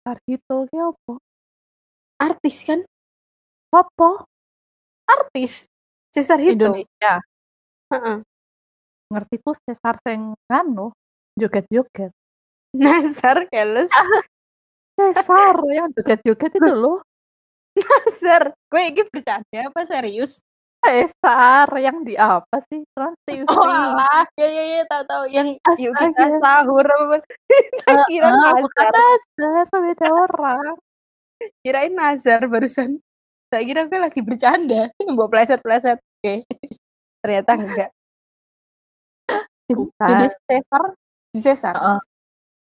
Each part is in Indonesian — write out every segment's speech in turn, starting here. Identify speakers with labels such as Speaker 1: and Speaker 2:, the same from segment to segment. Speaker 1: Sarjito ki gitu. Ya apa?
Speaker 2: Artis kan?
Speaker 1: Apa?
Speaker 2: Artis, Cesar Hito.
Speaker 1: Indonesia.
Speaker 2: Heeh.
Speaker 1: Ngertiku Cesar sing nganu, joget-joget.
Speaker 2: Nasar keles.
Speaker 1: Cesar yang joget-joget itu loh.
Speaker 2: Nasar. Gue ini bercanda apa serius?
Speaker 1: Cesar yang di apa sih? Trans TV.
Speaker 2: Oh alah, ya ya ya tahu tahu yang yuk kita
Speaker 1: Astaga. Eh,
Speaker 2: sahur apa Kita
Speaker 1: Heeh,
Speaker 2: kira
Speaker 1: Ah, bukan
Speaker 2: Nazar,
Speaker 1: Nazar, beda orang.
Speaker 2: kirain Nazar barusan. Tak kira gue lagi bercanda, buat pleset-pleset. Oke. Ternyata enggak.
Speaker 1: Bukan.
Speaker 2: Jadi Cesar, Cesar.
Speaker 1: Heeh.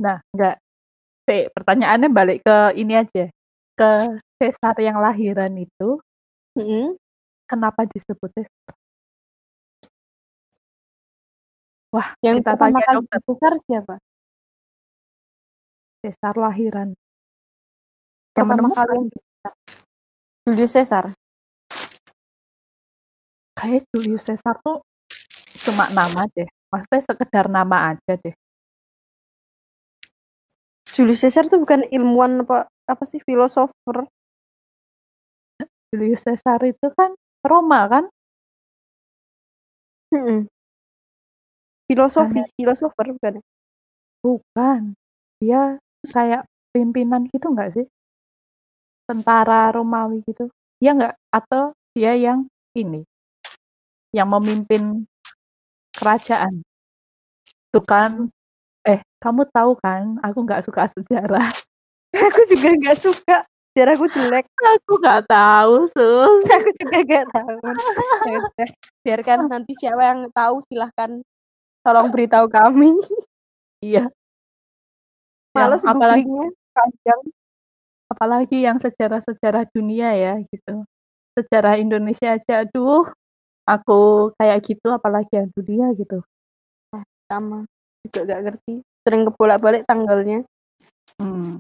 Speaker 1: Nah, enggak. T, pertanyaannya balik ke ini aja. Ke Cesar yang lahiran itu, Mm-hmm.
Speaker 2: Heeh.
Speaker 1: kenapa disebut Cesar? Wah,
Speaker 2: Yang
Speaker 1: kita
Speaker 2: pertama
Speaker 1: tanya
Speaker 2: kali
Speaker 1: dokter
Speaker 2: Cesar siapa?
Speaker 1: Cesar lahiran.
Speaker 2: Yang pertama
Speaker 1: Temenmu
Speaker 2: kali yang Cesar. Julius Cesar.
Speaker 1: Kayak Julius Caesar tuh cuma nama deh. Maksudnya sekedar nama aja deh.
Speaker 2: Julius Caesar tuh bukan ilmuwan apa apa sih filosofer?
Speaker 1: Julius Caesar itu kan Roma kan?
Speaker 2: Heeh. Filosofi, filosofer bukan?
Speaker 1: Bukan. Dia kayak pimpinan gitu enggak sih? Tentara Romawi gitu. Dia enggak atau dia yang ini yang memimpin kerajaan. Tuh kan eh kamu tahu kan aku nggak suka sejarah.
Speaker 2: aku juga nggak suka. Sejarahku jelek.
Speaker 1: Aku nggak tahu, Sus.
Speaker 2: aku juga gak tahu Ya udah, biarkan nanti siapa yang tahu silahkan tolong beritahu kami
Speaker 1: Iya.
Speaker 2: males
Speaker 1: Yang apalagi
Speaker 2: googlingnya Ya, panjang
Speaker 1: apalagi yang sejarah-sejarah dunia ya gitu. Sejarah Indonesia aja aduh aku kayak gitu apalagi yang dunia gitu.
Speaker 2: sama juga gak ngerti sering kebolak balik tanggalnya
Speaker 1: Hmm.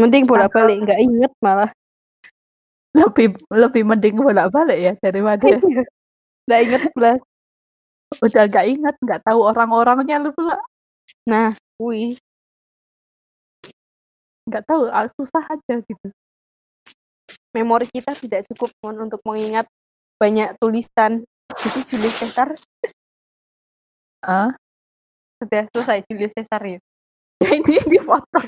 Speaker 2: mending bolak balik nggak inget malah
Speaker 1: Lebih lebih mending bolak-balik ya daripada
Speaker 2: nggak inget belas
Speaker 1: udah gak ingat nggak tahu orang-orangnya lu pula
Speaker 2: nah wih
Speaker 1: nggak tahu ah, susah aja gitu.
Speaker 2: memori kita tidak cukup Mon, untuk mengingat banyak tulisan jadi Julius Caesar
Speaker 1: Ah,
Speaker 2: sudah selesai Julius Caesar ya
Speaker 1: ini di foto.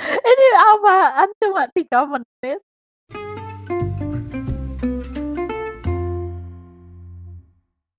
Speaker 1: ini apaan cuma tiga menit.